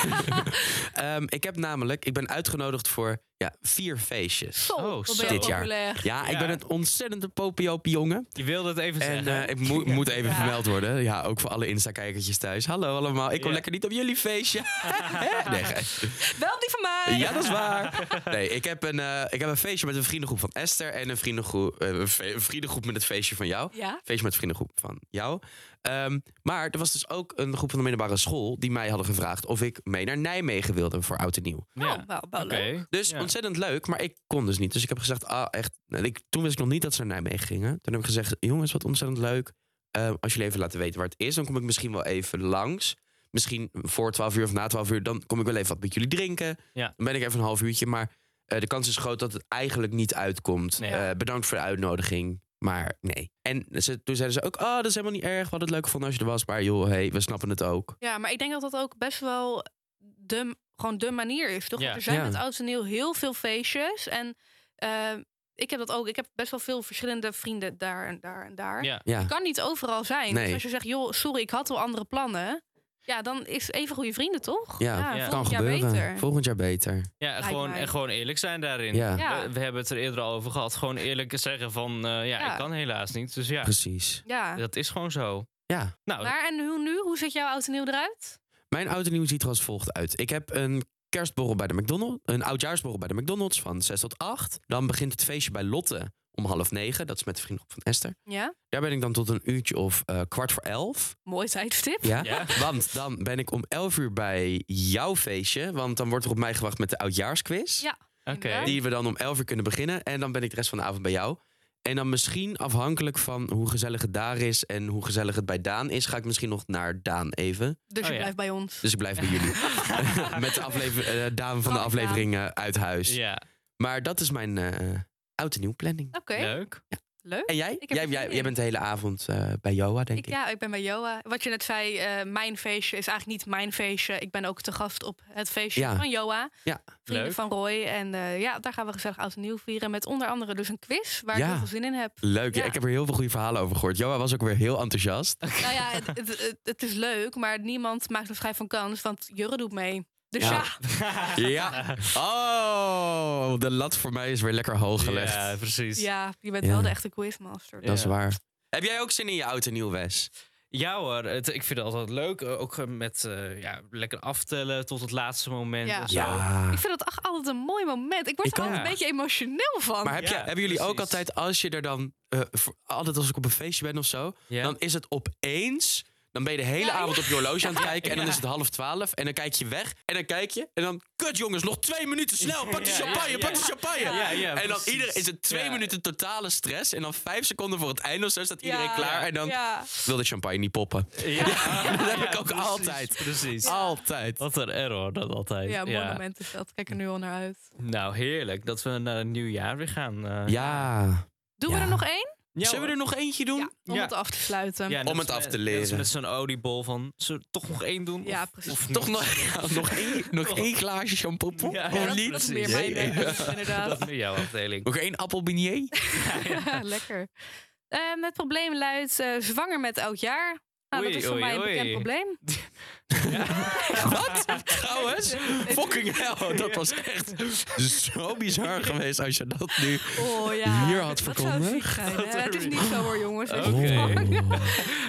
C: Ehm, ik heb namelijk, ik ben uitgenodigd voor ja, vier feestjes.
A: Zo,
B: Oh,
A: wat ben
B: zo.
A: je
C: Dit jaar.
A: populair.
C: Ja, ik
B: Ja.
C: ben een ontzettende popiope jongen.
B: Je wilde het even
C: En
B: zeggen.
C: eh, ik moet- moet even
A: Ja.
C: vermeld worden. Ja, ook voor alle Insta-kijkertjes thuis. Hallo allemaal, ik kom
B: Ja.
C: lekker niet op jullie feestje. nee, ge-
A: Wel die van mij.
C: ja, dat is waar. Nee, ik heb, een, eh, ik heb een feestje met een vriendengroep van Esther... en een vriendengroep, eh, een fe- een vriendengroep met het feestje van jou.
A: Ja.
C: feestje met vriendengroep van jou. Ehm, maar er was dus ook een groep van de middelbare school die mij hadden gevraagd of ik mee naar Nijmegen wilde voor oud en nieuw.
B: Ja.
A: Oh, wel, wel
B: Oké.
A: leuk.
C: Dus
B: Ja.
C: ontzettend leuk, maar ik kon dus niet. Dus ik heb gezegd, ah, echt. en Ik, toen wist ik nog niet dat ze naar Nijmegen gingen. Toen heb ik gezegd, jongens, wat ontzettend leuk. Ehm, als jullie even laten weten waar het is, dan kom ik misschien wel even langs. Misschien voor 12 uur of na 12 uur, dan kom ik wel even wat met jullie drinken.
B: Ja.
C: Dan ben ik even een half uurtje. Maar eh, de kans is groot dat het eigenlijk niet uitkomt.
B: Nee.
C: Eh, bedankt voor de uitnodiging. Maar nee. En ze, toen zeiden ze ook: Oh, dat is helemaal niet erg. Wat het leuk vond als je er was. Maar joh, hey, we snappen het ook.
A: Ja, maar ik denk dat dat ook best wel de, gewoon de manier is. Toch?
B: Ja.
A: Want er zijn
C: Ja.
A: met oud en nieuw heel veel feestjes. En eh, ik heb dat ook. Ik heb best wel veel verschillende vrienden daar en daar en daar.
B: Ja.
C: Ja.
A: Je kan niet overal zijn.
C: Nee.
A: Dus als je zegt, joh, sorry, ik had wel andere plannen. Ja, dan is even goede vrienden, toch?
C: Ja,
B: Ja.
C: Kan
A: volgend jaar
C: gebeuren.
A: beter.
C: Volgend jaar beter.
B: Ja,
A: Lijkt
B: gewoon,
A: mij.
B: en gewoon eerlijk zijn daarin.
C: Ja,
A: Ja.
B: We, we hebben het er eerder al over gehad. Gewoon eerlijk zeggen van, eh, ja,
A: Ja.
B: ik kan helaas niet. Dus ja,
C: precies.
A: ja.
B: dat is gewoon zo.
C: Ja.
B: Nou,
A: Maar en hoe nu? Hoe ziet jouw oud en nieuw eruit?
C: Mijn oud en nieuw ziet er als volgt uit. Ik heb een kerstborrel bij de McDonald's. Een oudjaarsborrel bij de McDonald's van 6 tot 8. Dan begint het feestje bij Lotte om half 9. Dat is met de vriendin van Esther.
A: Ja,
C: Daar ben ik dan tot een uurtje of eh, kwart voor elf.
A: mooi tijdstip.
C: Ja?
B: Ja.
C: Want dan ben ik om elf uur bij jouw feestje. Want dan wordt er op mij gewacht met de oudjaarsquiz.
A: Ja.
B: Oké.
A: Inderdaad.
C: Die we dan om 11 uur kunnen beginnen. En dan ben ik de rest van de avond bij jou. En dan misschien afhankelijk van hoe gezellig het daar is en hoe gezellig het bij Daan is, ga ik misschien nog naar Daan even.
A: Dus
B: Oh,
A: je
B: ja.
A: blijft bij ons.
C: Dus ik blijf bij jullie. Met de aflever- eh, Daan van de
A: Oh, Daan.
C: aflevering eh, uit huis.
B: Ja,
C: Maar dat is mijn eh oud en nieuw planning.
A: Oké,
B: leuk.
A: leuk.
C: En jij?
A: Oh, Ik heb
C: Jij,
A: er
C: jij,
A: zin
C: jij
A: in.
C: bent de hele avond eh, bij Joa, denk ik.
A: Ik, ja, ik ben bij Joa. Wat je net zei, eh, mijn feestje is eigenlijk niet mijn feestje. Ik ben ook te gast op het feestje
C: Ja.
A: van Joa.
C: Ja.
A: Vrienden
B: Leuk.
A: van Roy. En eh, ja, daar gaan we gezellig oud en nieuw vieren. Met onder andere dus een quiz waar ik
C: Ja.
A: heel veel zin in heb.
C: Leuk, ja.
A: Ja.
C: ik heb er heel veel goede verhalen over gehoord. Joa was ook weer heel enthousiast.
A: Nou ja, het, het, het- het is leuk, maar niemand maakt een schijf van kans. Want Jurre doet mee. Dus ja,
C: Ja.
B: Nou.
C: ja. Oh, de lat voor mij is weer lekker hoog gelegd.
B: Ja, precies.
A: ja, je bent
C: Ja.
A: wel de echte quizmaster.
B: Ja.
C: Dat is waar. Heb jij ook zin in je oud en nieuw, Wes?
B: Ja hoor, het- ik vind het altijd leuk. eh, Ook eh, met eh, ja, lekker aftellen tot het laatste moment.
A: Ja.
B: en zo.
C: Ja.
A: Ik vind dat echt altijd een mooi moment. Ik word
C: Ik
A: er
C: ook.
A: altijd een beetje emotioneel van.
C: Maar heb
B: Ja,
C: jij- hebben jullie ook
B: precies.
C: altijd, als je er dan... eh, voor- altijd als ik op een feestje ben of zo...
B: Ja.
C: dan is het opeens... Dan ben je de hele
A: Ja,
C: avond op je horloge aan het kijken. En dan
B: Ja.
C: is het half twaalf. En dan kijk je weg. En dan kijk je. En dan, kut jongens, nog twee minuten. Snel, pak die
B: Ja, ja,
C: champagne,
B: ja.
C: pak die champagne.
B: Ja, ja,
C: en dan
B: precies.
C: iedereen, is het twee
B: Ja.
C: minuten totale stress. En dan vijf seconden voor het einde of zo staat iedereen
A: Ja.
C: klaar.
B: Ja.
C: En dan
A: Ja.
C: wil de champagne niet poppen.
B: Ja. Ja,
C: dat heb ik
B: ja,
C: ook
B: precies,
C: altijd.
B: Precies.
C: Altijd.
B: Wat een error dat altijd.
A: Ja, een mooi moment is dat. Kijk er nu al naar uit.
B: Nou, heerlijk dat we naar een nieuw jaar weer gaan. eh.
C: Ja.
A: Doen
C: Ja.
A: we er nog één?
B: Ja,
C: Zullen we
B: hoor.
C: er nog eentje doen?
A: Ja, om
B: Ja.
A: het af te sluiten.
B: Ja, net
C: Om het
B: als
C: af
B: met-
C: te
B: net als
C: leren.
B: Met zo'n oliebol van, zullen we toch nog één doen?
A: Ja,
B: Of-
A: precies.
B: Of
C: Toch
B: niet?
C: nog, nog, één, nog één glaasje shampoo?
B: Ja,
A: Ja,
B: ja,
C: Of
A: dat,
C: niet?
A: dat is
B: precies.
A: meer mijn
C: Nee.
A: ding, inderdaad.
B: Dat is nu jouw afdeling.
C: Nog één appelbeignet?
A: Ja, Lekker. Ehm, het probleem luidt eh, zwanger met oud jaar. Nou,
B: Oei,
A: dat is voor
B: oei,
A: mij een
B: oei.
A: bekend probleem.
C: Wat?
B: Oh,
C: Trouwens? Fucking hell, dat was echt zo bizar geweest als je dat nu...
A: Oh ja.
C: Hier had
A: dat
C: verkomen.
A: zou ziek zijn, hè?
B: Dat
A: Het is
B: er-
A: niet zo hoor, jongens. Het is
B: Oké.
A: gewoon-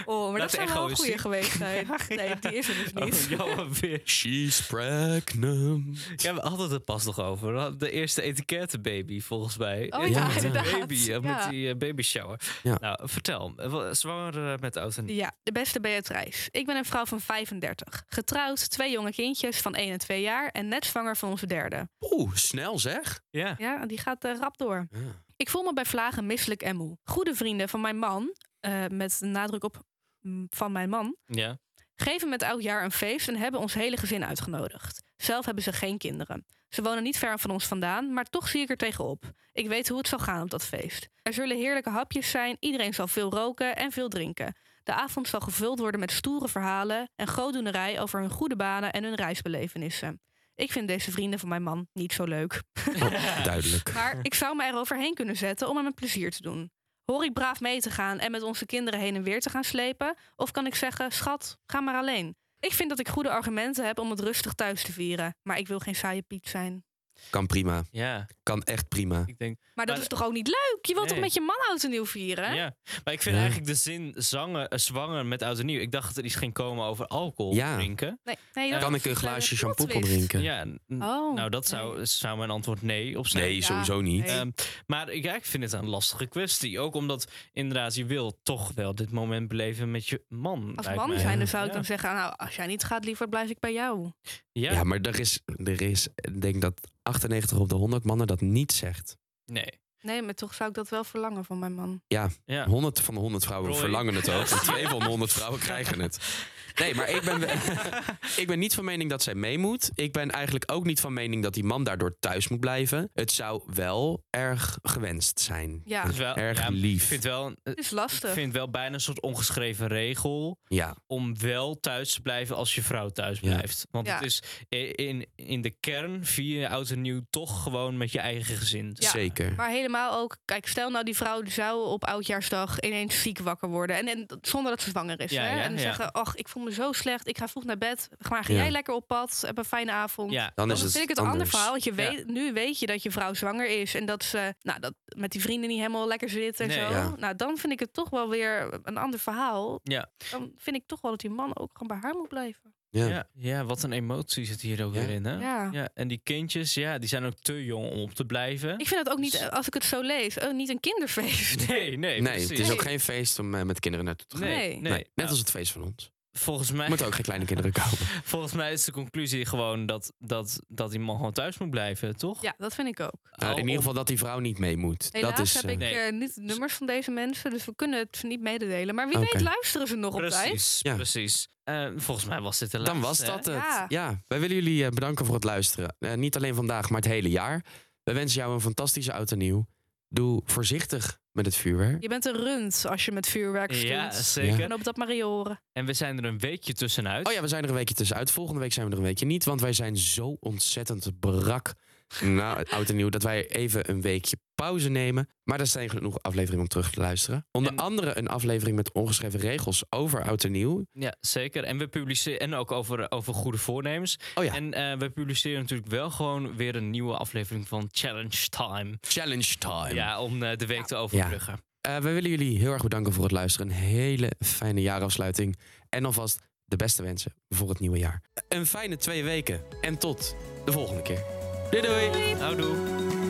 A: Oh, maar
B: Laat
A: dat
B: de
A: zou
B: echo
A: wel een
B: eens
A: goede
B: zien.
A: geweest zijn. Nee, die is er dus niet.
B: Oh, jouw weer.
C: She's pregnant.
B: Ja, we hadden het er pas nog over. De eerste etikettenbaby, volgens mij.
A: Oh
C: Ja,
A: ja,
C: met die
A: inderdaad.
B: Baby, eh,
A: Ja.
B: met die eh, baby shower.
C: Ja.
B: Nou, vertel. eh, wa- Zwanger eh, met oud en
A: Ja, de beste Beatrice. Ik ben een vrouw van 35. Getrouwd, twee jonge kindjes van 1 en 2 jaar en net zwanger van onze derde.
C: Oeh, snel zeg.
B: Ja.
A: Ja, die gaat eh, rap door.
C: Ja.
A: Ik voel me bij vlagen misselijk en moe. Goede vrienden van mijn man, eh, met de nadruk op mm, van mijn man,
B: Ja.
A: geven met oud jaar een feest en hebben ons hele gezin uitgenodigd. Zelf hebben ze geen kinderen. Ze wonen niet ver van ons vandaan, maar toch zie ik er tegenop. Ik weet hoe het zal gaan op dat feest. Er zullen heerlijke hapjes zijn, iedereen zal veel roken en veel drinken. De avond zal gevuld worden met stoere verhalen en grootdoenerij over hun goede banen en hun reisbelevenissen. Ik vind deze vrienden van mijn man niet zo leuk.
C: Oh, duidelijk.
A: Maar ik zou me eroverheen kunnen zetten om hem een plezier te doen. Hoor ik braaf mee te gaan en met onze kinderen heen en weer te gaan slepen? Of kan ik zeggen, schat, ga maar alleen. Ik vind dat ik goede argumenten heb om het rustig thuis te vieren. Maar ik wil geen saaie piet zijn.
C: Kan prima.
B: Ja,
C: Kan echt prima.
B: ik denk...
A: Maar dat
B: Maar-
A: is toch ook niet leuk? Je wilt
B: Nee.
A: toch met je man oud en nieuw vieren?
B: Ja. Maar ik vind
C: Ja.
B: eigenlijk de zin zanger, eh, zwanger met oud en nieuw... Ik dacht dat er iets ging komen over alcohol
C: Ja.
B: drinken.
A: Nee, nee, dat
C: Kan
A: is
C: ik een
A: eh, de
C: glaasje
A: plot
C: shampoo
A: twist.
C: drinken?
B: Ja, n-
A: Oh,
B: nou dat zou, zou mijn antwoord nee op zijn.
C: Nee,
A: Ja,
C: sowieso niet.
A: nee.
B: Ehm, maar ik, ja, ik vind het een lastige kwestie. Ook omdat inderdaad, je wil toch wel dit moment beleven met je man.
A: Als
B: lijkt
A: man
B: mij.
A: zijnde zou ik
B: Ja.
A: dan zeggen, nou, als jij niet gaat, liever blijf ik bij jou.
B: Ja,
C: Ja, maar er is, er is, ik denk dat 98 op de 100 mannen dat niet zegt.
B: nee.
A: Nee, maar toch zou ik dat wel verlangen van mijn man.
B: Ja.
C: 100 van de 100 vrouwen
B: Roy.
C: verlangen het ook. En Twee van de 100 vrouwen krijgen het. Nee, maar ik ben, ik ben niet van mening dat zij mee moet. Ik ben eigenlijk ook niet van mening dat die man daardoor thuis moet blijven. Het zou wel erg gewenst zijn.
A: Ja.
B: Het is wel-
C: erg
B: ja,
C: lief.
B: Ik vind wel, eh,
A: Het is
B: ik
A: lastig.
B: vind wel bijna een soort ongeschreven regel
C: Ja,
B: om wel thuis te blijven als je vrouw thuis
C: Ja.
B: blijft. Want
A: Ja.
B: het is i- in, in de kern vier je oud en nieuw toch gewoon met je eigen gezin.
A: Ja.
C: zeker.
A: Maar helemaal ook, kijk, stel nou die vrouw die zou op oudjaarsdag ineens ziek wakker worden. En, en dat- zonder dat ze zwanger is.
B: Ja,
A: hè?
B: ja,
A: en dan
B: ja.
A: zeggen, ach, ik voel me zo slecht, ik ga vroeg naar bed. Maar ga
C: Ja.
A: jij lekker op pad, heb een fijne avond.
B: Ja,
C: Dan
A: Dan
C: is het
A: vind ik het een
C: anders.
A: ander verhaal, want je
B: Ja.
A: weet, nu weet je dat je vrouw zwanger is en dat ze nou, dat met die vrienden niet helemaal lekker zit en
B: Nee,
A: zo.
C: ja.
A: Nou, dan vind ik het toch wel weer een ander verhaal.
B: Ja.
A: Dan vind ik toch wel dat die man ook gewoon bij haar moet blijven.
C: Ja.
B: Ja, ja, wat een emotie zit hier ook
C: Ja.
B: weer in, hè?
A: Ja.
B: en die kindjes, ja, die zijn ook te jong om op te blijven.
A: Ik vind het ook
B: Dus
A: niet, als ik het zo lees, ook niet een kinderfeest.
B: Nee, nee,
C: nee,
B: precies.
C: het is ook
A: Nee.
C: geen feest om eh, met kinderen naartoe te gaan.
B: Nee, nee.
A: Nee. Nee,
C: Nee, net
B: Nou,
C: als het feest van ons.
B: volgens mij,
C: Je moet ook geen kleine kinderen kopen.
B: volgens mij is de conclusie gewoon dat, dat, dat die man gewoon thuis moet blijven, toch?
A: Ja, dat vind ik ook.
C: Nou, in ieder geval dat die vrouw niet mee moet.
A: Helaas
C: dat is,
A: heb
C: eh,
A: ik
B: Nee.
A: eh, niet de nummers van deze mensen, dus we kunnen het niet mededelen. Maar wie
C: Oké.
A: weet luisteren ze nog op tijd.
B: Precies,
C: Ja.
B: precies. Eh, volgens mij was dit de
C: Dan
B: laatste.
C: was
B: hè?
C: dat het. Ja.
A: Ja.
C: wij willen jullie eh, bedanken voor het luisteren. Eh, niet alleen vandaag, maar het hele jaar. We wensen jou een fantastische oud en nieuw. Doe voorzichtig met het vuurwerk.
A: Je bent een rund als je met vuurwerk stond.
B: Ja, zeker.
A: En op dat maar horen.
B: En we zijn er een weekje tussenuit.
C: Oh ja, we zijn er een weekje tussenuit. Volgende week zijn we er een weekje niet, want wij zijn zo ontzettend brak na het oud en nieuw dat wij even een weekje pauze nemen. Maar er zijn genoeg afleveringen om terug te luisteren. Onder
B: En-
C: andere een aflevering met ongeschreven regels over oud en nieuw.
B: Ja, zeker. En we publiceren en ook over, over goede voornemens.
C: Oh ja.
B: En eh, we publiceren natuurlijk wel gewoon weer een nieuwe aflevering van Challenge Time.
C: Challenge time.
B: Ja, om eh, de week te overbruggen.
C: Eh, wij willen jullie heel erg bedanken voor het luisteren. Een hele fijne jaarafsluiting. En alvast de beste wensen voor het nieuwe jaar. Een fijne twee weken. En tot de volgende keer.
B: Nou, Doei doei. Houdoe.